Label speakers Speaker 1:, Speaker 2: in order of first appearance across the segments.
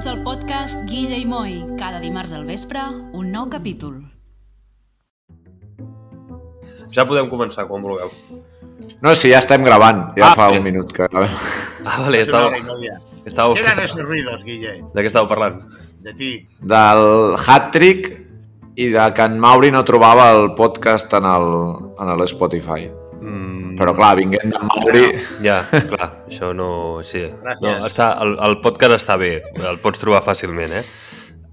Speaker 1: podcast Guilla i Moi. Cada dimarts al vespre, un nou capítol.
Speaker 2: Ja podem començar quan vulgueu.
Speaker 3: No, sí, ya está grabando. Ya
Speaker 2: Ah,
Speaker 3: fa
Speaker 2: eh.
Speaker 3: un minut que...
Speaker 2: Ah, vale, estàveu...
Speaker 4: Una hora i media.
Speaker 2: estàveu...
Speaker 4: ¿Qué eran esos ruidos, Guille?
Speaker 2: De què estàveu parlant?
Speaker 4: De ti.
Speaker 3: Del hat-trick i de que en Mauri no trobava el podcast en el, en el Spotify.
Speaker 2: Mm,
Speaker 3: Però clar, vinguem d'en Mauri...
Speaker 2: Ja, clar, això no... Sí. No,
Speaker 4: Gràcies.
Speaker 2: està, el, el podcast està bé, el pots trobar fàcilment, eh?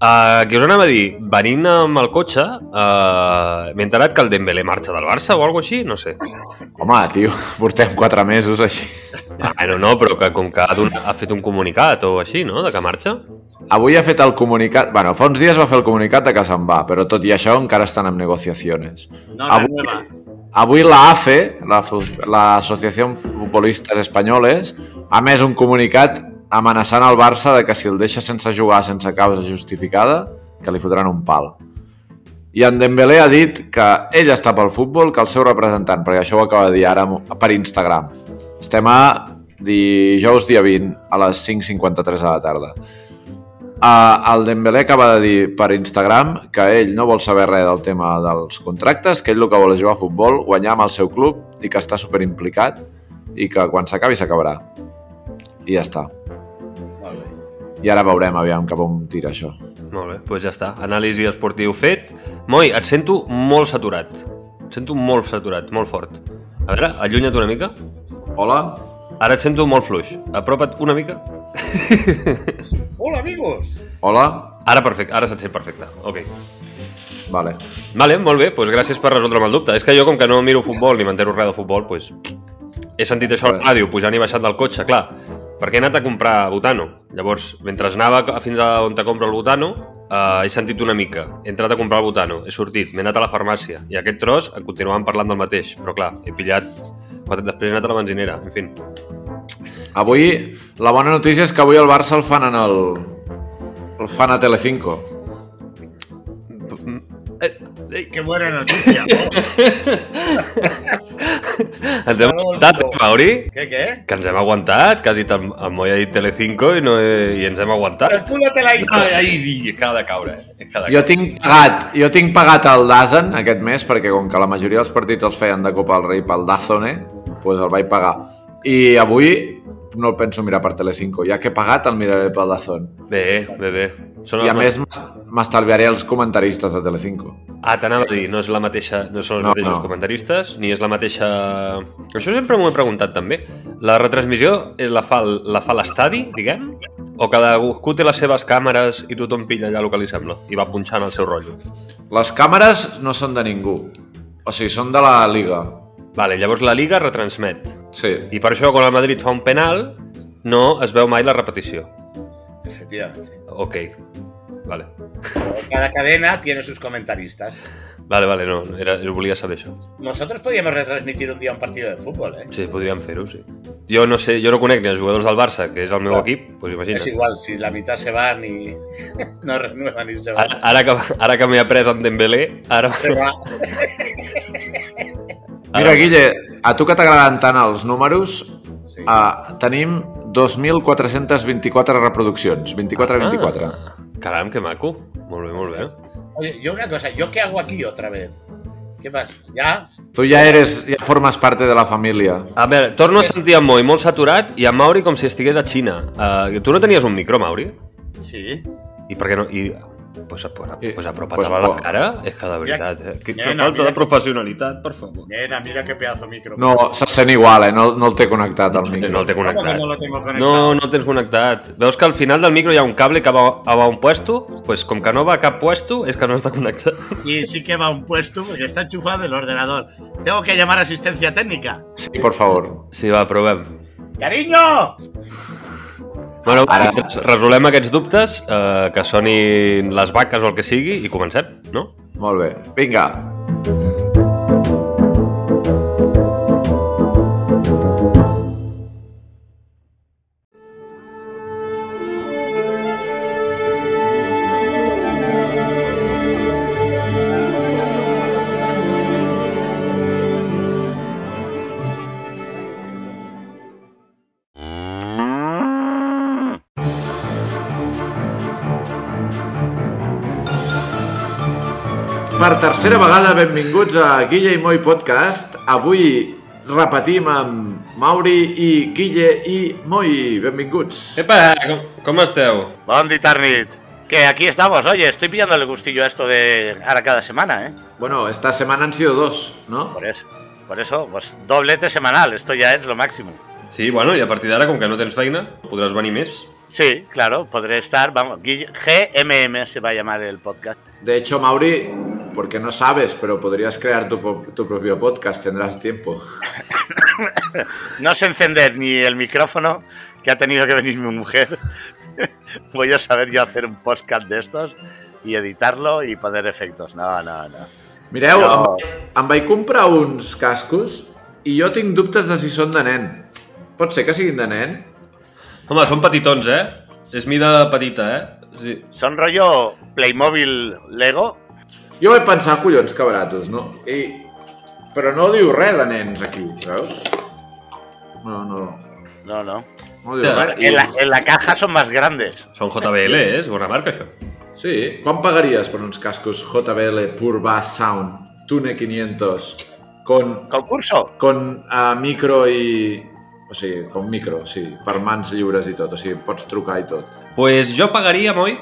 Speaker 2: Uh, que us anava a dir, venint amb el cotxe, uh, m'he enterat que el Dembélé marxa del Barça o alguna així, no sé.
Speaker 3: Home, tio, portem quatre mesos així.
Speaker 2: Ah, no, no, però que com que ha, donat, ha fet un comunicat o així, no?, de que marxa.
Speaker 3: Avui ha fet el comunicat... bueno, fa uns dies va fer el comunicat de que se'n va, però tot i això encara estan en negociacions.
Speaker 4: No, la
Speaker 3: Ah, bueno.
Speaker 4: nueva.
Speaker 3: Avui la AFE, la fu- la Asociació Futbolistes Espanyoles, ha més un comunicat amenaçant el Barça de que si el deixa sense jugar sense causa justificada, que li fotran un pal. I en Dembélé ha dit que ell està pel futbol, que el seu representant, perquè això ho acaba de dir ara mo- per Instagram. Estem a dijous dia 20 a les 5.53 de la tarda. Uh, el Dembélé acaba de dir per Instagram que ell no vol saber res del tema dels contractes, que ell el que vol és jugar a futbol, guanyar amb el seu club i que està super implicat i que quan s'acabi s'acabarà. I ja està. I ara veurem aviam cap on tira això.
Speaker 2: Molt bé, doncs ja està. Anàlisi esportiu fet. Moi, et sento molt saturat. Et sento molt saturat, molt fort. A veure, allunya't una mica.
Speaker 3: Hola?
Speaker 2: Ara et sento molt fluix. Apropa't una mica.
Speaker 4: Hola, amigos.
Speaker 3: Hola?
Speaker 2: Ara perfecte, ara se't sent perfecte. Ok.
Speaker 3: Vale.
Speaker 2: Vale, molt bé, doncs gràcies per resoldre'm el dubte. És que jo, com que no miro futbol ni m'entero res de futbol, doncs... He sentit això a la ràdio, pujant i baixant del cotxe, clar. Perquè he anat a comprar butano. Llavors, mentre anava ca- fins a on te compro el butano, eh, he sentit una mica. He entrat a comprar el butano, he sortit, m'he anat a la farmàcia. I aquest tros en continuaven parlant del mateix. Però clar, he pillat... Quan després he anat a la benzinera, en fi.
Speaker 3: Avui, la bona notícia és que avui el Barça el fan en el... El fan a Telecinco.
Speaker 2: Eh, eh,
Speaker 4: Qué buena noticia.
Speaker 2: ens hem aguantat, eh, Mauri?
Speaker 4: ¿Qué, qué?
Speaker 2: Que ens hem aguantat, que ha dit el, el Moi ha dit Telecinco i, no he, i ens hem aguantat.
Speaker 4: El culo te la hizo.
Speaker 2: Ai, ai, acaba de caure. Acaba de
Speaker 3: Jo tinc pagat, jo tinc pagat el Dazen aquest mes perquè com que la majoria dels partits els feien de Copa del Rei pel Dazone, doncs el vaig pagar. I avui no el penso mirar per Telecinco, ja que he pagat el miraré pel Dazón.
Speaker 2: caure. Bé, bé, bé. Són
Speaker 3: I a
Speaker 2: els
Speaker 3: més m'es- m'estalviaré els comentaristes de Telecinco.
Speaker 2: Ah, t'anava a dir, no, és la mateixa, no són els
Speaker 3: No,
Speaker 2: mateixos
Speaker 3: no.
Speaker 2: comentaristes, ni és la mateixa... Això sempre m'ho he preguntat, també. La retransmissió eh, la fa el- la fa a l'estadi, diguem? O cadascú té les seves càmeres i tothom pilla allà el que li sembla i va punxant el seu rotllo?
Speaker 3: Les càmeres no són de ningú, o sigui, són de la Liga.
Speaker 2: Vale, llavors la Liga retransmet.
Speaker 3: Sí,
Speaker 2: I per això, quan el Madrid fa un penal, no es veu mai la repetició.
Speaker 4: Efectivamente.
Speaker 2: Ok, vale.
Speaker 4: Cada cadena tiene sus comentaristas.
Speaker 2: Vale, vale, no, era, volia saber això.
Speaker 4: Nosotros podíamos retransmitir un día un partido de fútbol, ¿eh?
Speaker 2: Sí, podríem fer-ho, sí. Jo no sé, jo no conec ni els jugadors del Barça, que és el meu
Speaker 4: Clar.
Speaker 2: equip, doncs imagina't.
Speaker 4: Es igual, si la mitad se van y no renuevan y se
Speaker 2: Ara,
Speaker 4: van. ah,
Speaker 2: ara que, ara que m'he après en Dembélé, ara...
Speaker 4: Se va.
Speaker 3: Mira, Guille, a tu que t'agraden tant els números,
Speaker 4: Sí.
Speaker 3: uh, tenim 2.424 reproduccions, 24-24.
Speaker 2: Ah, caram, que maco. Molt bé, molt bé.
Speaker 4: Oye, yo una cosa, ¿yo qué hago aquí otra vez? ¿Qué pasa? ¿Ya?
Speaker 3: Tu ja eres, ja formes parte de la família.
Speaker 2: A veure, torno a sentir en Moi molt saturat i a Mauri com si estigués a Xina. Uh, tu no tenies un micro, Mauri?
Speaker 4: Sí.
Speaker 2: I per què no... I... Pues, pues,
Speaker 3: I-
Speaker 2: Eh, pues
Speaker 3: pues,
Speaker 2: apropa-te-la a la
Speaker 3: po-
Speaker 2: cara, és que de veritat, eh? Que, que
Speaker 4: Nena,
Speaker 2: falta de
Speaker 4: mira.
Speaker 2: professionalitat, per favor.
Speaker 4: Nena, mira qué pedazo micro.
Speaker 3: No, se sent igual, eh? No, no el té connectat al micro.
Speaker 2: No el té
Speaker 4: ¿Cómo que
Speaker 2: connectat.
Speaker 4: no lo tengo conectado?
Speaker 2: No, no el tens connectat. Veus que al final del micro hi ha un cable que va, va a un puesto? Pues com que no va a cap puesto, és que no està connectat.
Speaker 4: Sí, sí que va a un puesto porque está enchufado el ordenador. Tengo que llamar a asistencia técnica.
Speaker 3: Sí, por favor.
Speaker 2: Sí, va, provem.
Speaker 4: ¡Cariño!
Speaker 2: Bueno,
Speaker 3: Ara-
Speaker 2: Ara... resolem aquests dubtes, eh, que sonin les vaques o el que sigui, i comencem, no?
Speaker 3: Molt bé. Vinga. per tercera vegada benvinguts a Guille i Moi Podcast. Avui repetim amb Mauri i Guille i Moi. Benvinguts.
Speaker 2: Epa, com, com esteu?
Speaker 5: Bondi Tarnit. Que aquí estamos, oye, estoy pillando el gustillo a esto de ahora cada semana, ¿eh?
Speaker 3: Bueno, esta semana han sido dos, ¿no?
Speaker 5: Por eso, por eso, pues doblete semanal, esto ya es lo máximo.
Speaker 2: Sí, bueno, i a partir d'ara, com que no tens feina, podràs venir més.
Speaker 5: Sí, claro, podré estar, vamos, Guille- GMM se va a llamar el podcast.
Speaker 3: De hecho, Mauri, porque no sabes, pero podrías crear tu, po- tu propio podcast, tendrás tiempo.
Speaker 5: No sé encender ni el micrófono, que ha tenido que venir mi mujer. Voy a saber yo hacer un podcast de estos y editarlo y poner efectos. No, no, no.
Speaker 3: Mireu,
Speaker 5: No.
Speaker 3: no. em, em vaig comprar uns cascos i jo tinc dubtes de si són de nen. Pot ser que siguin de nen?
Speaker 2: Home, són petitons, eh? És mida petita, eh? Sí.
Speaker 5: Son rollo Playmobil Lego.
Speaker 3: Jo vaig pensar, collons, que baratos, no? I... Però no diu res de nens aquí, veus? No, no,
Speaker 5: No, no.
Speaker 3: no diu res. I...
Speaker 5: En la, en la caja son más grandes.
Speaker 2: Són JBL, eh? És bona marca, això.
Speaker 3: Sí, quan pagaries per uns cascos JBL Pure Bass Sound Tune 500 con
Speaker 5: Concurso.
Speaker 3: con uh, micro i... O sigui, com micro, sí, per mans lliures i tot. O sigui, pots trucar i tot.
Speaker 2: pues jo pagaria, Moi,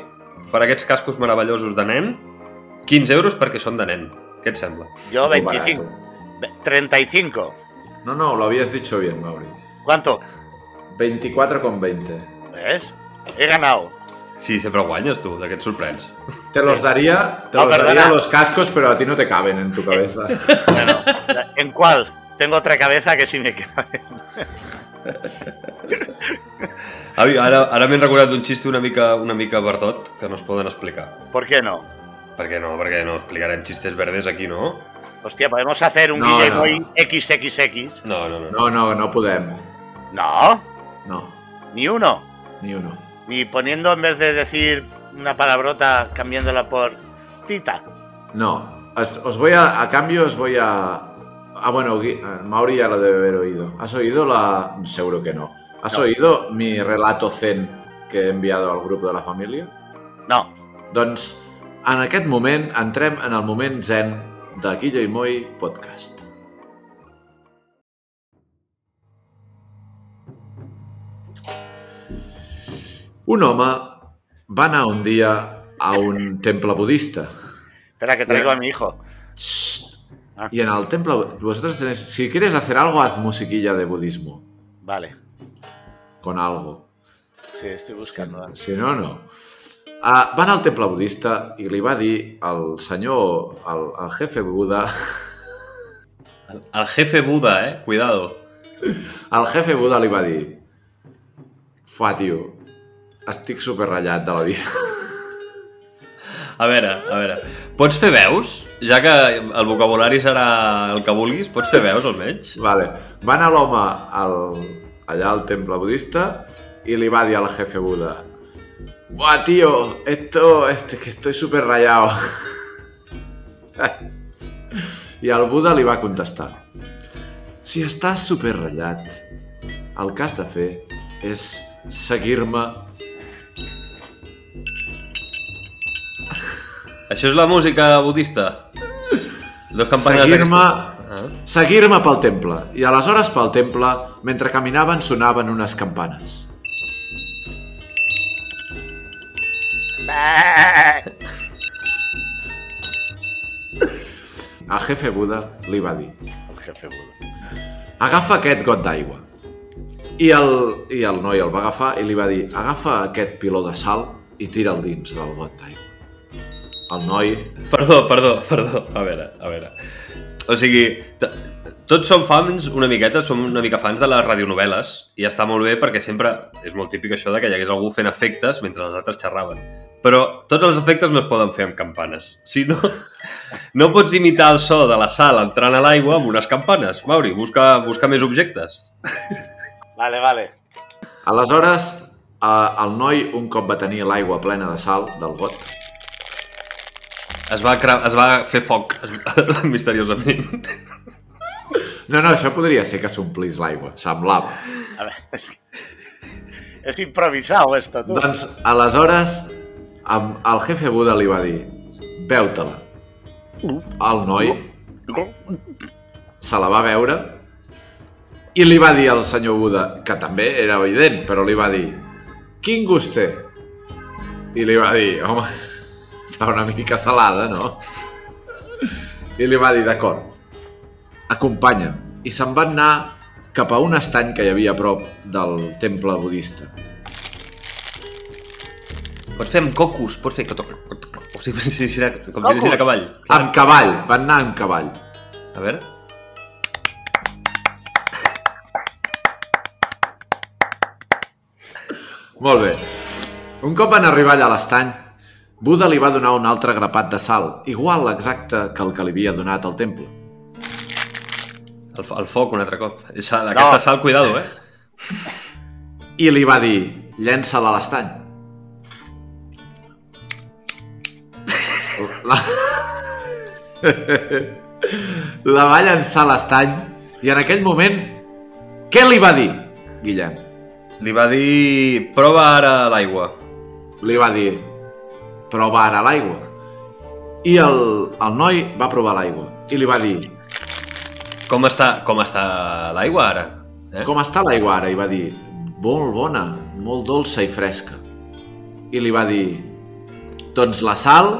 Speaker 2: per aquests cascos meravellosos de nen, 15 euros perquè són de nen. Què et sembla?
Speaker 5: Yo
Speaker 3: Molt
Speaker 5: 25.
Speaker 3: barato.
Speaker 5: Ve- 35.
Speaker 3: No, no, lo habías dicho bien, Mauri.
Speaker 5: ¿Cuánto?
Speaker 3: 24,20.
Speaker 5: ¿Ves? He ganado.
Speaker 2: Sí, sempre guanyes, tu, d'aquests sorprens.
Speaker 3: Te los daría, te
Speaker 5: No,
Speaker 3: los daría
Speaker 5: Ah, perdona.
Speaker 3: los cascos, pero a ti no te caben en tu cabeza.
Speaker 5: Bueno, ¿en cuál? Tengo otra cabeza que sí me cabe.
Speaker 2: Ai, Ara, ara m'he recordat d'un xiste una mica, una mica verdot que no es poden explicar.
Speaker 5: ¿Por qué no?
Speaker 2: Per què no? Perquè no explicarem xistes verdes aquí, no?
Speaker 5: Hostia, podemos hacer un
Speaker 3: No,
Speaker 5: Guille
Speaker 3: no.
Speaker 5: Moy XXX.
Speaker 2: No, no, no. no.
Speaker 3: No, no, no podem.
Speaker 5: No,
Speaker 3: No,
Speaker 5: ni uno.
Speaker 3: ni uno.
Speaker 5: Ni poniendo en vez de decir una palabrota cambiándola por tita.
Speaker 3: No. Os, os voy a... A cambio os voy a... Ah, bueno, Gui- eh, Mauri ya lo debe haber oído. ¿Has oído la...? Seguro que no. ¿Has
Speaker 5: No.
Speaker 3: oído mi relato zen que he enviado al grupo de la familia?
Speaker 5: No.
Speaker 3: Doncs en aquest moment entrem en el moment zen de Guille i Moi Podcast. Un home va anar un dia a un temple budista.
Speaker 5: Espera, que traigo a mi hijo.
Speaker 3: Xxxt. Y en el templo, vosotros tenéis, si quieres hacer algo, haz musiquilla de budismo.
Speaker 5: Vale.
Speaker 3: Con algo.
Speaker 5: Sí, estoy buscando.
Speaker 3: Si no, no. Uh, va anar al temple budista i li va dir al senyor, al, al jefe Buda,
Speaker 2: El jefe Buda, eh? Cuidado.
Speaker 3: al jefe Buda li va dir Fa, tio, estic superratllat de la vida.
Speaker 2: A veure, a veure. Pots fer veus? Ja que el vocabulari serà el que vulguis, pots fer veus almenys?
Speaker 3: Vale. Va anar l'home al, allà al temple budista i li va dir al jefe Buda Buah, tio, esto, este, que estoy superrayado. I el Buda li va contestar Si estàs superratllat, el que has de fer és seguir-me...
Speaker 2: Això és la música budista? Dos campanes
Speaker 3: Seguir-me
Speaker 2: Ah.
Speaker 3: seguir-me pel temple. I aleshores pel temple, mentre caminaven, sonaven unes campanes. El jefe Buda li va dir
Speaker 5: El jefe Buda.
Speaker 3: agafa aquest got d'aigua. I el, I el noi el va agafar i li va dir, agafa aquest piló de sal i tira'l dins del got d'aigua. El noi...
Speaker 2: Perdó, perdó, perdó. A veure, a veure. O sigui, t- tots som fans una miqueta, som una mica fans de les radionovel·les i està molt bé perquè sempre és molt típic això de que hi hagués algú fent efectes mentre els altres xerraven. Però tots els efectes no es poden fer amb campanes. Si no, no pots imitar el so de la sal entrant a l'aigua amb unes campanes. Mauri, busca, busca més objectes.
Speaker 5: Vale, vale.
Speaker 3: Aleshores, eh, el noi, un cop va tenir l'aigua plena de sal del got,
Speaker 2: Es va, cre- es va fer foc, es, misteriosament.
Speaker 3: no, no, això podria ser que s'omplís l'aigua, semblava.
Speaker 5: A ver, es, que- es improvisado esto, tú.
Speaker 3: Doncs, aleshores, amb- el jefe Buda li va dir, beu-te-la. El noi se la va veure i li va dir al senyor Buda, que també era evident, però li va dir «Quin gust té?» I li va dir «Home, està una mica salada, no?» I li va dir «D'acord, acompanya'm». I se'n van anar cap a un estany que hi havia a prop del temple budista.
Speaker 6: Pots fer amb cocos, pots fer... cotoc, cotoc, cotoc, Com si fessin com si fessin a cavall.
Speaker 3: Amb cavall, van anar amb cavall.
Speaker 6: A veure...
Speaker 3: Molt bé. Un cop van arribar allà a l'estany, Buda li va donar un altre grapat de sal, igual exacte que el que li havia donat al temple.
Speaker 6: El, fo- el foc un altre cop. Esa, aquesta sal, cuidado, eh?
Speaker 3: I li va dir, llença-la a l'estany. La... la va llançar a l'estany i en aquell moment, què li va dir, Guillem?
Speaker 6: Li va dir... Prova ara l'aigua.
Speaker 3: Li va dir, prova ara l'aigua. I el, el noi va provar l'aigua i li va dir,
Speaker 6: Com està, com està l'aigua ara? Eh?
Speaker 3: Com està l'aigua ara? I va dir, molt bona, molt dolça i fresca. I li va dir, doncs la sal,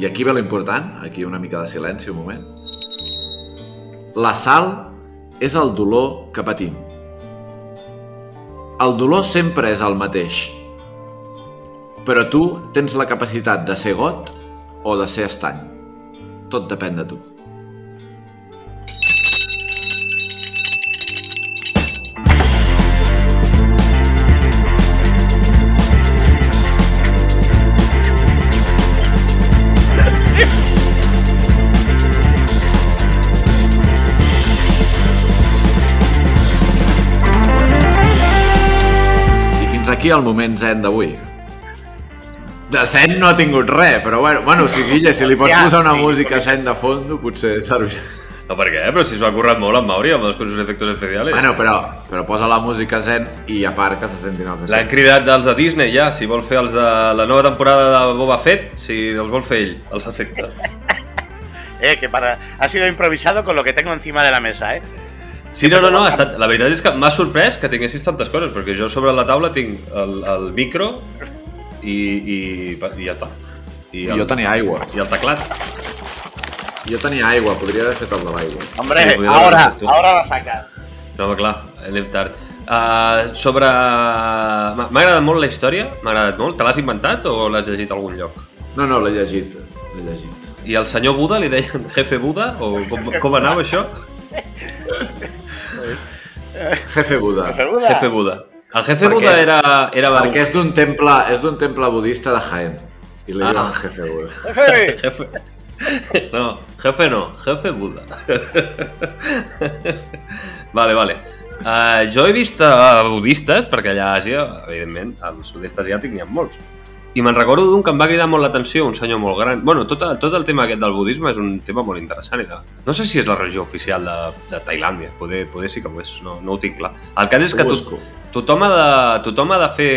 Speaker 3: i aquí ve l'important, aquí una mica de silenci, un moment. La sal és el dolor que patim. El dolor sempre és el mateix. Però tu tens la capacitat de ser got o de ser estany. Tot depèn de tu. I fins aquí el moment zen d'avui. De zen no ha tingut res, però bueno, bueno si Guilla, si li pots
Speaker 5: Ja,
Speaker 3: posar una
Speaker 5: sí,
Speaker 3: música zen de fondo, potser servirà.
Speaker 2: No, per què? Però si s'ho ha currat molt en Mauri amb els cursos efectos especiales.
Speaker 3: Bueno, però, però posa la música zen i a part que se sentin els
Speaker 2: L'han
Speaker 3: efectes.
Speaker 2: cridat dels de Disney ja, si vol fer els de la nova temporada de Boba Fett, si els vol fer ell, els efectes.
Speaker 5: Eh, que para... ha sido improvisado con lo que tengo encima de la mesa, ¿eh?
Speaker 2: Sí, no, no, no, ha estat... la veritat és que m'ha sorprès que tinguessis tantes coses, perquè jo sobre la taula tinc el, el micro i, i, i ja està. I
Speaker 3: Jo tenia aigua.
Speaker 2: I el teclat.
Speaker 3: Jo tenia aigua, podria haver fet el de l'aigua.
Speaker 5: Hombre,
Speaker 2: Sí, voy a dar un
Speaker 5: ahora,
Speaker 2: gusto.
Speaker 5: ahora la sacas.
Speaker 2: No, home, clar, anem tard. Uh, sobre... M'ha m'ha agradat molt la història, m'ha agradat molt. Te l'has inventat o l'has llegit a algun lloc?
Speaker 3: No, no, l'he llegit. L'he llegit.
Speaker 2: I al senyor Buda li deien jefe Buda? O com, com anava això?
Speaker 3: Jefe Buda.
Speaker 2: Jefe Buda. El jefe
Speaker 3: Perquè
Speaker 2: Buda
Speaker 3: és-
Speaker 2: era... era
Speaker 3: Perquè és d'un temple, és d'un temple budista de Jaén. I li
Speaker 2: Ah.
Speaker 3: diuen Jefe Buda.
Speaker 5: Jefe.
Speaker 2: Jefe... No, jefe no, jefe Buda. vale, vale. Uh, jo he vist uh, budistes, perquè allà a Àsia, evidentment, al sud-est asiàtic n'hi ha molts. I me'n recordo d'un que em va cridar molt l'atenció, un senyor molt gran. bueno, tot, tot el tema aquest del budisme és un tema molt interessant. I tal. No sé si és la religió oficial de, de Tailàndia, poder, poder sí que ho és, no, no ho tinc clar. El cas és
Speaker 3: Ho
Speaker 2: que tot,
Speaker 3: busco.
Speaker 2: tothom ha de, tothom ha de fer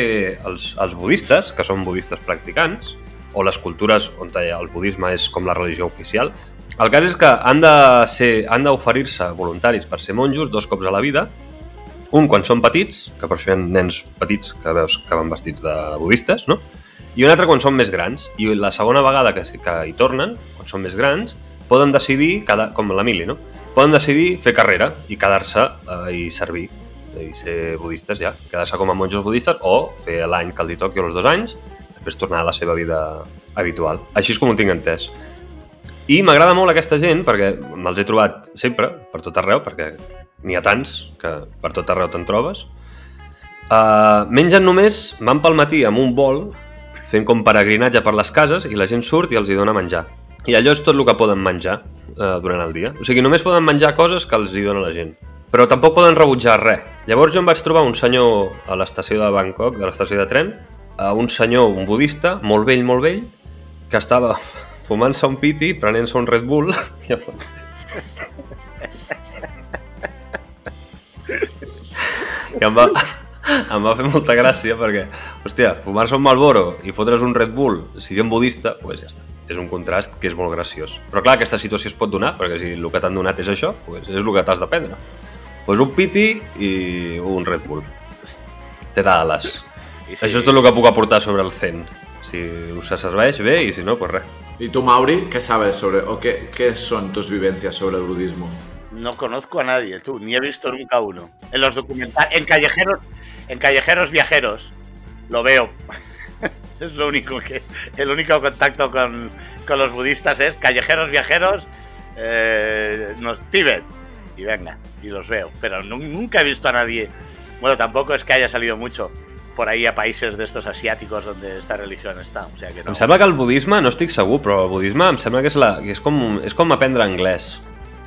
Speaker 2: els, els budistes, que són budistes practicants, o les cultures on el budisme és com la religió oficial. El cas és que han de ser- han d'oferir-se voluntaris per ser monjos dos cops a la vida, un quan són petits, que per això hi ha nens petits que veus que van vestits de budistes, no? i un altre quan són més grans. I la segona vegada que, que hi tornen, quan són més grans, poden decidir, cada, com la mili, no? poden decidir fer carrera i quedar-se eh, i servir i ser budistes ja, quedar-se com a monjos budistes o fer l'any que els hi toqui o els dos anys, després tornar a la seva vida habitual. Així és com ho tinc entès. I m'agrada molt aquesta gent perquè me'ls he trobat sempre, per tot arreu, perquè n'hi ha tants que per tot arreu te'n trobes. Uh, mengen només, van pel matí amb un bol, fent com peregrinatge per les cases i la gent surt i els hi dona menjar. I allò és tot el que poden menjar uh, durant el dia. O sigui, només poden menjar coses que els hi dona la gent. Però tampoc poden rebutjar res. Llavors jo em vaig trobar un senyor a l'estació de Bangkok, de l'estació de tren, a un senyor, un budista, molt vell, molt vell, que estava fumant-se un piti, prenent-se un Red Bull i em va- i em va, em va fer molta gràcia perquè, hòstia, fumar-se un Malboro i fotre's un Red Bull siguent budista, doncs pues ja està. És un contrast que és molt graciós. Però clar, aquesta situació es pot donar, perquè si el que t'han donat és això, pues és el que t'has d'aprendre. Pues un piti i un Red Bull. Te da ales.
Speaker 5: I
Speaker 2: Això és tot el que puc aportar sobre el zen. Si us serveix, bé, i si no, pues res.
Speaker 3: ¿Y tú, Mauri, qué sabes sobre, o qué, qué son tus vivencias sobre el budismo?
Speaker 5: No conozco a nadie, tú, ni he visto nunca uno. En los documentales, en callejeros, en callejeros viajeros, lo veo. es lo único que, el único contacto con, con los budistas es callejeros viajeros, eh, no, Tíbet. Y venga, y los veo. Pero nu- nunca he visto a nadie. Bueno, tampoco es que haya salido mucho por ahí a países de estos asiáticos donde esta religión está. O sea que no.
Speaker 2: Em sembla que el budisme, no estic segur, però el budisme em sembla que és, la, que és, com, és com aprendre anglès.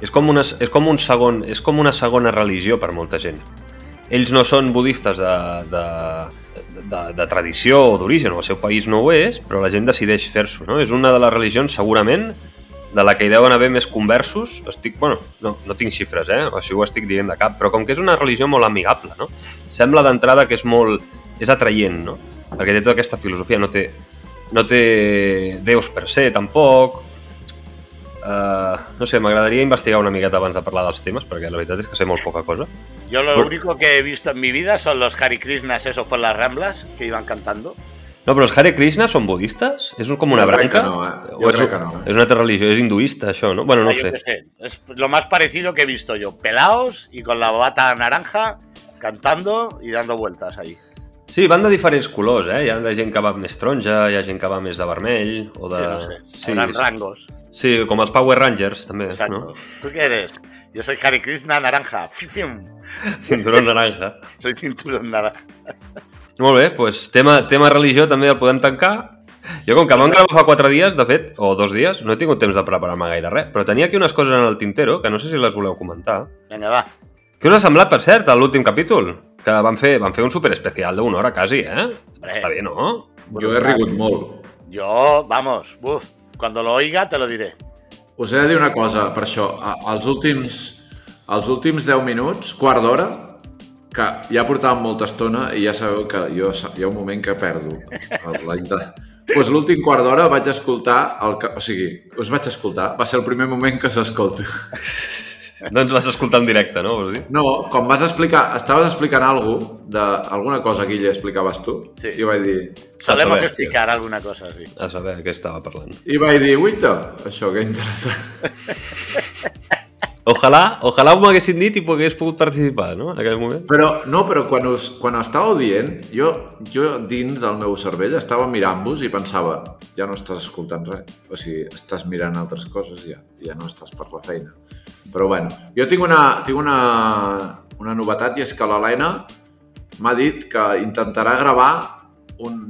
Speaker 2: És com, una, és, com un segon, és com una segona religió per molta gent. Ells no són budistes de, de, de, de tradició o d'origen, o el seu país no ho és, però la gent decideix fer-s'ho. No? És una de les religions, segurament, de la que hi deuen haver més conversos. Estic, bueno, no, no tinc xifres, eh? o si ho estic dient de cap, però com que és una religió molt amigable, no? sembla d'entrada que és molt... és atraient, no? perquè té tota aquesta filosofia, no té, no té déus per se, tampoc. Uh, no sé, m'agradaria investigar una miqueta abans de parlar dels temes, perquè la veritat és que sé molt poca cosa.
Speaker 5: Yo lo
Speaker 2: Por-
Speaker 5: único que he visto en mi vida son los Hare Krishnas esos por las ramblas que iban cantando.
Speaker 2: No, però els Hare Krishna són budistes? És com una
Speaker 3: Jo crec
Speaker 2: branca?
Speaker 3: que no, eh?
Speaker 2: O
Speaker 3: Jo
Speaker 2: és,
Speaker 3: crec que no, eh?
Speaker 2: És una altra religió, és hinduista, això, no? Bueno, no
Speaker 5: Ah,
Speaker 2: ho
Speaker 5: yo
Speaker 2: sé.
Speaker 5: qué sé, Es lo más parecido que he visto yo. Pelaos y con la bata naranja cantando y dando vueltas ahí.
Speaker 2: Sí, van de diferents colors, eh? Hi ha de gent que va més taronja, hi ha gent que va més de vermell, o de...
Speaker 5: Sí, no sé.
Speaker 2: Sí,
Speaker 5: Eran
Speaker 2: sí,
Speaker 5: rangos.
Speaker 2: sí, com els Power Rangers, també,
Speaker 5: Exacto.
Speaker 2: no?
Speaker 5: ¿Tú qué eres? Yo soy Hare Krishna naranja. Fiu, fiu.
Speaker 2: Cinturó naranja.
Speaker 5: Soy cinturón naranja.
Speaker 2: Molt bé, doncs tema, tema religió també el podem tancar. Jo com que vam gravar fa quatre dies, de fet, o dos dies, no he tingut temps de preparar-me gaire res, però tenia aquí unes coses en el tintero que no sé si les voleu comentar.
Speaker 5: Venga, va.
Speaker 2: Què us ha semblat, per cert, a l'últim capítol? Que van fer, van fer un superespecial d'una hora quasi, eh?
Speaker 5: Hombre.
Speaker 2: Està bé, no?
Speaker 3: Jo he rigut molt.
Speaker 5: Yo, vamos, uf, cuando lo oiga te lo diré.
Speaker 3: Us he de dir una cosa, per això, a- els últims, els últims 10 minuts, quart d'hora, que ja portàvem molta estona i ja sabeu que jo, sa- hi ha un moment que perdo. el- La inte- pues l'últim quart d'hora vaig escoltar, el que, o sigui, us vaig escoltar, va ser el primer moment que s'escolta.
Speaker 2: Doncs vas escoltar en directe, no? Vols dir?
Speaker 3: No, quan vas explicar, estaves explicant alguna de, alguna cosa, Guille, explicaves tu,
Speaker 5: Sí.
Speaker 3: i vaig dir,
Speaker 5: Solemos
Speaker 2: saber, tío.
Speaker 5: explicar alguna cosa así.
Speaker 2: A saber de què estava parlant.
Speaker 3: i vaig dir, uita, això que interessant.
Speaker 2: Ojalà, ojalà ho m'haguessin dit i hagués pogut participar, no? En aquell moment.
Speaker 3: Però, no, però quan, us, quan ho estàveu dient, jo, jo dins del meu cervell estava mirant-vos i pensava, ja no estàs escoltant res. O sigui, estàs mirant altres coses ja, ja no estàs per la feina. Però bueno, jo tinc una, tinc una, una novetat i és que l'Helena m'ha dit que intentarà gravar un...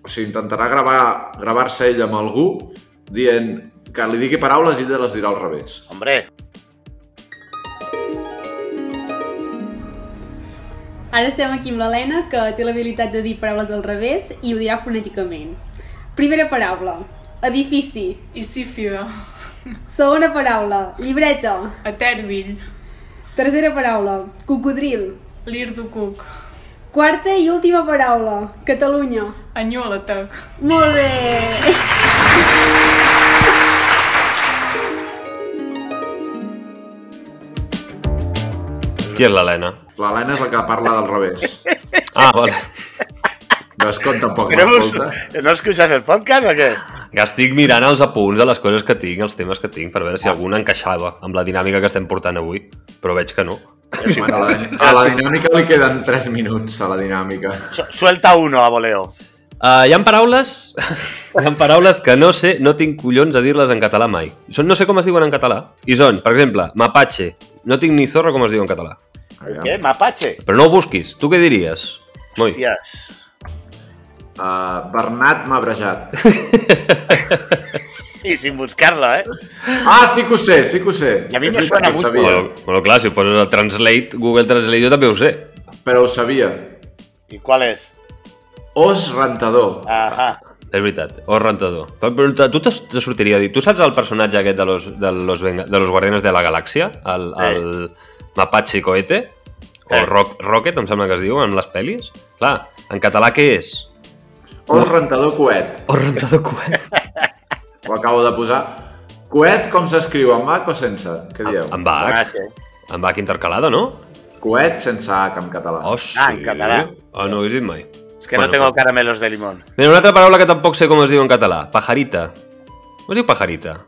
Speaker 3: O sigui, intentarà gravar- gravar-se gravar ell amb algú dient que li digui paraules i ella les dirà al revés.
Speaker 5: Hombre,
Speaker 7: Ara estem aquí amb l'Helena, que té l'habilitat de dir paraules al revés i ho dirà fonèticament. Primera paraula, edifici.
Speaker 8: I sífida.
Speaker 7: Segona paraula, llibreta.
Speaker 8: Etèrbill.
Speaker 7: Tercera paraula, cocodril.
Speaker 8: L'irducuc.
Speaker 7: Quarta i última paraula, Catalunya.
Speaker 8: Anyola't.
Speaker 7: Molt bé!
Speaker 2: Qui és l'Helena?
Speaker 3: L'Helena és la que parla del revés.
Speaker 2: Ah, vale.
Speaker 3: Veus com tampoc
Speaker 5: tenemos-
Speaker 3: m'escolta?
Speaker 5: ¿no escuchas el podcast o qué?
Speaker 2: Que estic mirant els apunts de les coses que tinc, els temes que tinc, per veure si algun encaixava amb la dinàmica que estem portant avui, però veig que no.
Speaker 3: Bueno, a, la, a la dinàmica li queden 3 minuts, a la dinàmica.
Speaker 5: Su- Suelta uno a voleo.
Speaker 2: Uh, hi han paraules hi han paraules que no sé, no tinc collons a dir-les en català mai. Són, no sé com es diuen en català. I són, per exemple, mapache. No tinc ni zorra com es diu en català.
Speaker 3: Aviam.
Speaker 5: ¿Qué? ¿Mapache?
Speaker 2: Però no ho busquis. Tu què diries? Moi.
Speaker 5: Hostias.
Speaker 3: Uh, Bernat m'ha brejat.
Speaker 5: Y sin buscarlo, ¿eh?
Speaker 3: Ah, sí que ho sé, sí que ho sé.
Speaker 5: I a mi
Speaker 3: És
Speaker 5: me
Speaker 3: veritat,
Speaker 5: suena
Speaker 3: ho
Speaker 5: mucho. eh.
Speaker 3: sabia,
Speaker 2: Bueno, bueno, clar, si ho poses el Translate, Google Translate, jo també ho sé.
Speaker 3: però ho sabia.
Speaker 5: ¿Y cuál es?
Speaker 3: Os rentador.
Speaker 5: Ajá.
Speaker 2: És veritat, o rentador. Però, però te- tu te, te sortiria a dir... Tu saps el personatge aquest de los, de los, Venga- de los Guardianes de la Galàxia? El,
Speaker 5: Sí.
Speaker 2: el Mapache Cohete? O rock, Rocket, em sembla que es diu, en les pel·lis. Clar, en català què és?
Speaker 3: Os rentador coet.
Speaker 2: O rentador coet.
Speaker 3: Ho acabo de posar. Coet com s'escriu, amb H o sense? Què dieu?
Speaker 2: En Bach.
Speaker 5: H.
Speaker 2: En Bach intercalada, no?
Speaker 3: Coet sense H en català.
Speaker 2: Oh, sí.
Speaker 5: Ah, en català.
Speaker 2: Ah, no ho he dit mai.
Speaker 5: Es que no tengo caramelos de limón.
Speaker 2: Mira, una altra paraula que tampoc sé com es diu en català. Pajarita. Com es diu pajarita?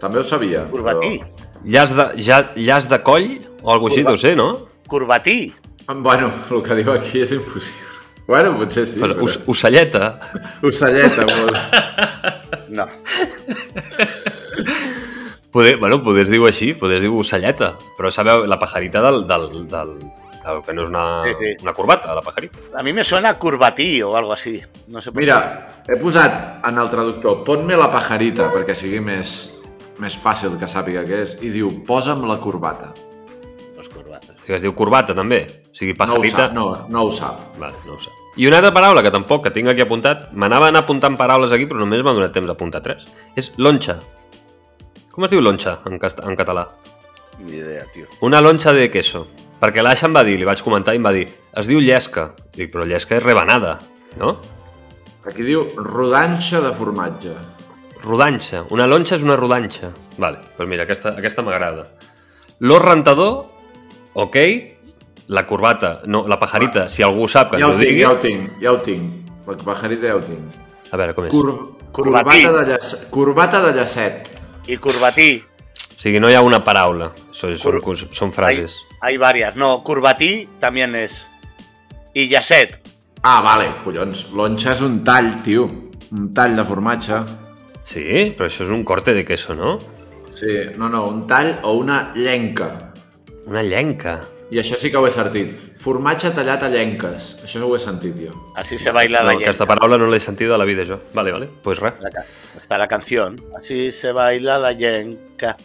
Speaker 3: També ho sabia.
Speaker 5: Curvatí.
Speaker 2: Llaç de, ja, llaç de coll o alguna cosa així,
Speaker 5: Curva-
Speaker 2: deu ser, no?
Speaker 5: Curvatí.
Speaker 3: Però... Bueno, el que diu aquí és impossible. Bueno, potser sí.
Speaker 2: Però, us, ocelleta.
Speaker 3: Ocelleta, vos.
Speaker 5: No.
Speaker 2: Poder, bueno, poder es diu així, poder es diu ocelleta. Però sabeu, la pajarita del... del, del, del que no és una,
Speaker 5: Sí, sí.
Speaker 2: una corbata, la pajarita.
Speaker 5: A mí me suena curvatí o algo así. No sé por
Speaker 3: Mira, he posat en el traductor «Pon-me la pajarita» perquè sigui més, més fàcil que sàpiga què és, i diu «Posa'm la corbata».
Speaker 5: qué Los corbatos.
Speaker 2: O sigui, es diu corbata, també. O sigui, pajarita...
Speaker 3: No ho sap, no, no ho sap.
Speaker 2: Vale, no ho sé. I una altra paraula que tampoc, que tinc aquí apuntat, m'anava a anar apuntant paraules aquí, però només m'ha donat temps d'apuntar tres, és lonxa. Com es diu lonxa en, cast en català?
Speaker 5: Ni idea, tío.
Speaker 2: Una lonxa de queso. Perquè l'Aixa em va dir, li vaig comentar i em va dir, es diu llesca. Dic, però llesca és rebanada, no?
Speaker 3: Aquí diu «rodanxa de formatge».
Speaker 2: Rodanxa. Una lonxa és una rodanxa. Vale, doncs mira, aquesta, aquesta m'agrada. L'os rentador, ok, la corbata, no, la pajarita, si algú sap que
Speaker 3: Ja
Speaker 2: ens
Speaker 3: ho,
Speaker 2: ho
Speaker 3: tinc,
Speaker 2: digui...
Speaker 3: ja ho tinc, ja ho tinc. La pajarita ja ho tinc.
Speaker 2: A veure, com és?
Speaker 3: Cor
Speaker 5: Corbatí.
Speaker 3: corbata, de llac corbata de llacet.
Speaker 5: Y curvatí.
Speaker 2: O sigui, no hi ha una paraula, són, són,
Speaker 5: Cor-
Speaker 2: són frases.
Speaker 5: Hay, hay varias. No, curvatí también es. Y Yasset.
Speaker 3: Ah, vale, collons. Lonxa és un tall, tio. Un tall de formatge.
Speaker 2: Sí, però això és un corte de queso, no?
Speaker 3: Sí, no, no, un tall o una llenca.
Speaker 2: Una llenca.
Speaker 3: I això sí que ho he sentit. Formatge tallat a llenques. Això ho he sentit, jo.
Speaker 5: Así se baila
Speaker 2: no,
Speaker 5: la
Speaker 2: aquesta
Speaker 5: yenca.
Speaker 2: paraula no l'he sentida a la vida, jo. Vale, vale, doncs pues res.
Speaker 5: La ca- Está la canción. Así se baila la yenca.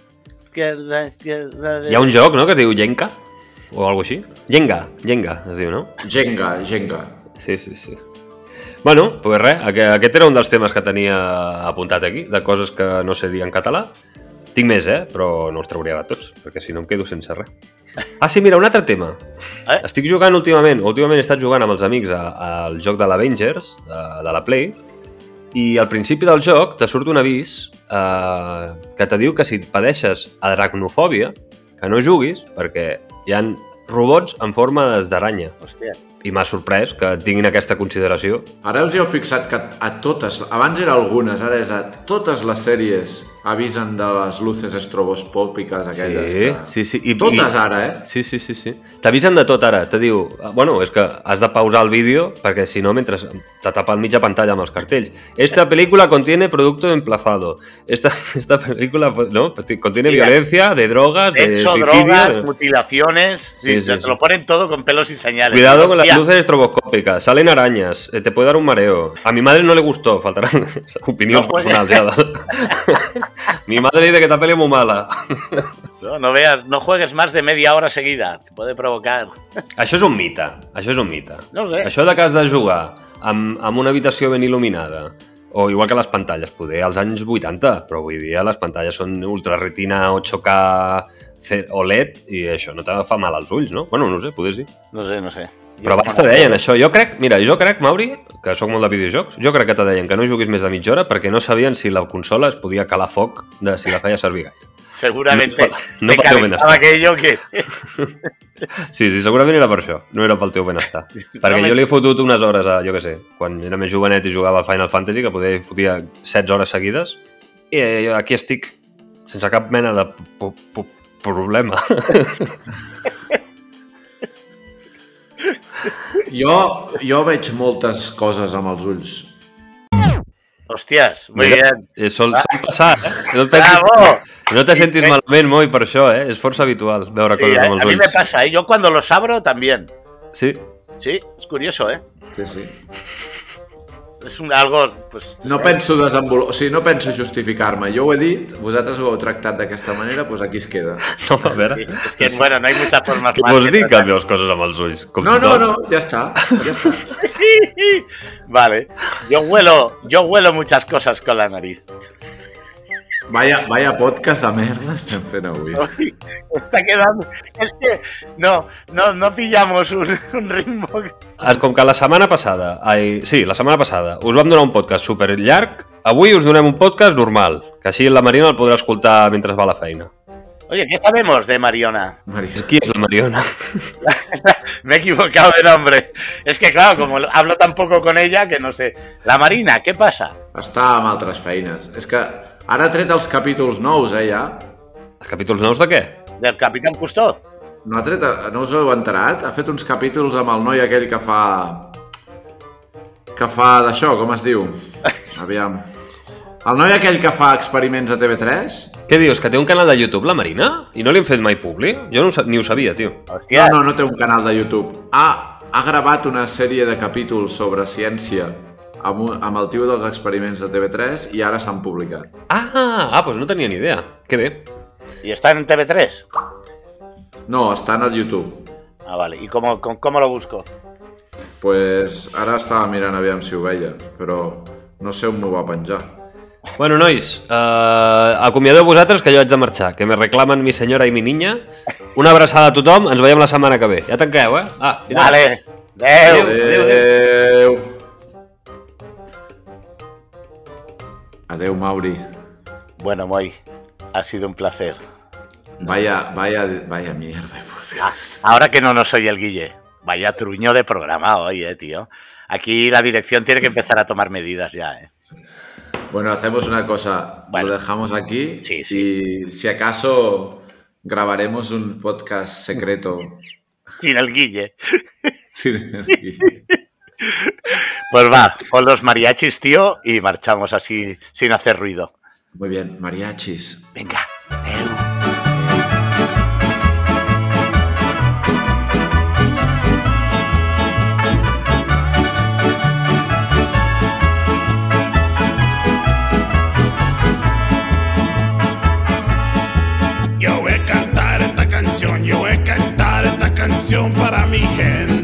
Speaker 5: Izquierda, izquierda.
Speaker 2: Hi ha un joc, no?, que es diu llenca? O alguna així? Llenga, llenga, es diu, no?
Speaker 3: Jenga, jenga.
Speaker 2: Sí, sí, sí. Bueno, doncs pues res, aqu- aquest era un dels temes que tenia apuntat aquí, de coses que no sé dir en català. Tinc més, eh? Però no els trauré ara tots, perquè si no em quedo sense res. Ah, sí, mira, un altre tema.
Speaker 5: Eh?
Speaker 2: Estic jugant últimament, últimament he estat jugant amb els amics a- al joc de l'Avengers, de, de la Play, i al principi del joc te surt un avís eh, que te diu que si padeixes aracnofòbia, que no juguis, perquè hi han robots en formes d'aranya.
Speaker 5: Hostia.
Speaker 2: I m'ha sorprès que tinguin aquesta consideració.
Speaker 3: Ara us hi heu fixat que a totes, abans era algunes, ara és a totes les sèries avisen de les luces estroboscòpiques aquelles
Speaker 2: sí,
Speaker 3: que...
Speaker 2: sí, sí. I,
Speaker 3: Totes
Speaker 2: i-
Speaker 3: ara, eh?
Speaker 2: Sí, sí, sí, sí. T'avisen de tot ara, te diu... ah, Bueno, és que has de pausar el vídeo perquè si no mentre te tapa el mitja pantalla amb els cartells. Esta película contiene producto emplazado. Esta, esta película pues, no, contiene
Speaker 5: Mira.
Speaker 2: violencia, de drogas, de
Speaker 5: Sexo,
Speaker 2: suicidio...
Speaker 5: drogas,
Speaker 2: de-
Speaker 5: mutilaciones.
Speaker 2: Sí,
Speaker 5: Sí,
Speaker 2: sí,
Speaker 5: te,
Speaker 2: sí.
Speaker 5: lo ponen todo con pelos y señales.
Speaker 2: Cuidado con las
Speaker 5: Hostia.
Speaker 2: luces estroboscópicas, salen arañas, eh, te puede dar un mareo. A mi madre no le gustó, faltarán opiniones
Speaker 5: No puede.
Speaker 2: personales. ya, da. mi madre dice que esta peli es muy mala.
Speaker 5: No, no veas, no juegues más de media hora seguida. que Puede provocar.
Speaker 2: Això és un mite, això és un mite.
Speaker 5: No sé.
Speaker 2: Això de que has de jugar amb, amb una habitació ben il·luminada, o igual que les pantalles, poder als anys 80, però avui dia les pantalles són ultra retina 8K C- OLED E i això no te fa mal als ulls, no? Bueno, no ho sé, poder sí.
Speaker 5: No sé, no sé.
Speaker 2: Però abans te deien això. Jo crec, mira, jo crec, Mauri, que sóc molt de videojocs, jo crec que te deien que no juguis més de mitja hora perquè no sabien si la consola es podia calar foc de si la feia servir gaire.
Speaker 5: Seguramente.
Speaker 2: No, no
Speaker 5: te
Speaker 2: pateo
Speaker 5: calentaba
Speaker 2: benestar.
Speaker 5: aquello que.
Speaker 2: Sí, sí, segurament era per això, no era pel teu benestar. Perquè
Speaker 5: No,
Speaker 2: jo li he fotut unes hores a, jo què sé, quan era més jovenet i jugava al Final Fantasy, que poder fotia 16 hores seguides, i eh, aquí estic sense cap mena de po- po- problema.
Speaker 3: Jo, jo veig moltes coses amb els ulls.
Speaker 5: Hostias, muy
Speaker 2: Mira,
Speaker 5: bien.
Speaker 2: eh, Sol, sol passar, eh? No te,
Speaker 5: Ah. ¡Bravo!
Speaker 2: no te sentis
Speaker 5: Sí,
Speaker 2: malament, Moi, per això, eh? És força habitual veure
Speaker 5: Sí,
Speaker 2: coses
Speaker 5: a,
Speaker 2: amb
Speaker 5: a
Speaker 2: els
Speaker 5: mí me
Speaker 2: ulls.
Speaker 5: pasa, ¿eh? yo cuando los abro también.
Speaker 2: Sí,
Speaker 5: Sí, es curioso, ¿eh?
Speaker 3: Sí, sí.
Speaker 5: Es un algo, pues.
Speaker 3: No penso desenvolupar... O sigui, no penso justificar-me. Jo ho he dit, vosaltres ho heu tractat d'aquesta manera, doncs aquí es queda.
Speaker 2: no, a veure.
Speaker 5: sí, es que, bueno, no hay muchas formas
Speaker 2: Què
Speaker 5: más
Speaker 2: vols
Speaker 5: de
Speaker 2: dir que
Speaker 5: tratar.
Speaker 2: veus coses amb els ulls? Com
Speaker 3: No, no,
Speaker 2: tothom?
Speaker 3: no, ja està. Ja està.
Speaker 5: Vale. Yo huelo, yo huelo muchas cosas con la nariz.
Speaker 3: Vaya, vaya podcast de merda estem fent avui.
Speaker 5: Uy, está quedando. Es que no, no, no pillamos un, un ritmo.
Speaker 2: Es- Eh, Com que la setmana passada, ai, sí, la setmana passada, us vam donar un podcast super llarg, avui us donem un podcast normal, que així la Marina el podrà escoltar mentre va a la feina.
Speaker 5: Oye, ¿qué sabemos de Mariona?
Speaker 3: Maria.
Speaker 2: Qui és la Mariona?
Speaker 5: Me he equivocado de nombre. Es que, claro, como hablo tan poco con ella, que no sé. La Marina, ¿qué pasa?
Speaker 3: Està amb altres feines. És que ara ha tret els capítols nous, eh, ja.
Speaker 2: Els capítols nous de què?
Speaker 5: ¿Del Capitán Cousteau?
Speaker 3: No, ha tret, no us heu enterat? Ha fet uns capítols amb el noi aquell que fa... que fa d'això, com es diu? Aviam. El noi aquell que fa experiments a TV3?
Speaker 2: Què dius, que té un canal de YouTube la Marina? I no li hem fet mai publi? Jo no ho, sa- ni ho sabia, tio.
Speaker 5: Hostia,
Speaker 3: Ah, No, no, no té un canal de YouTube. Ha, ha gravat una sèrie de capítols sobre ciència amb, un, amb el tio dels experiments de TV3 i ara s'han publicat.
Speaker 2: Ah, ah, doncs no tenia ni idea. Que bé.
Speaker 5: ¿y está en TV3?
Speaker 3: No, estan al YouTube.
Speaker 5: Ah, vale. ¿Y cómo, con- cómo lo busco?
Speaker 3: pues ara estava mirant aviam si ho veia, però no sé on m'ho va penjar.
Speaker 2: Bueno, nois, eh, acomiadeu vosaltres que jo haig de marxar, que me reclamen mi senyora i mi niña. Una abraçada a tothom, ens veiem la setmana que ve. Ja tanqueu, eh? Ah, i tant.
Speaker 5: Vale. Adeu.
Speaker 3: Adéu! Adéu, Adéu Mauri.
Speaker 5: Bueno, Moy, ha sido un placer.
Speaker 3: Vaya, vaya, vaya mierda de podcast.
Speaker 5: Ah, Ahora que no nos soy el Guille, vaya truño de programa hoy, eh, tío. Aquí la dirección tiene que empezar a tomar medidas ya, eh.
Speaker 3: Bueno, hacemos una cosa.
Speaker 5: Vale.
Speaker 3: Lo dejamos aquí.
Speaker 5: Sí,
Speaker 3: Y si acaso grabaremos un podcast secreto.
Speaker 5: Sin el Guille.
Speaker 3: Sin-
Speaker 5: Pues va, con los mariachis, tío, y marchamos así sin hacer ruido.
Speaker 3: Muy bien, mariachis.
Speaker 5: Venga, adeu.
Speaker 9: Yo voy a cantar esta canción, yo voy a cantar esta canción para mi gente.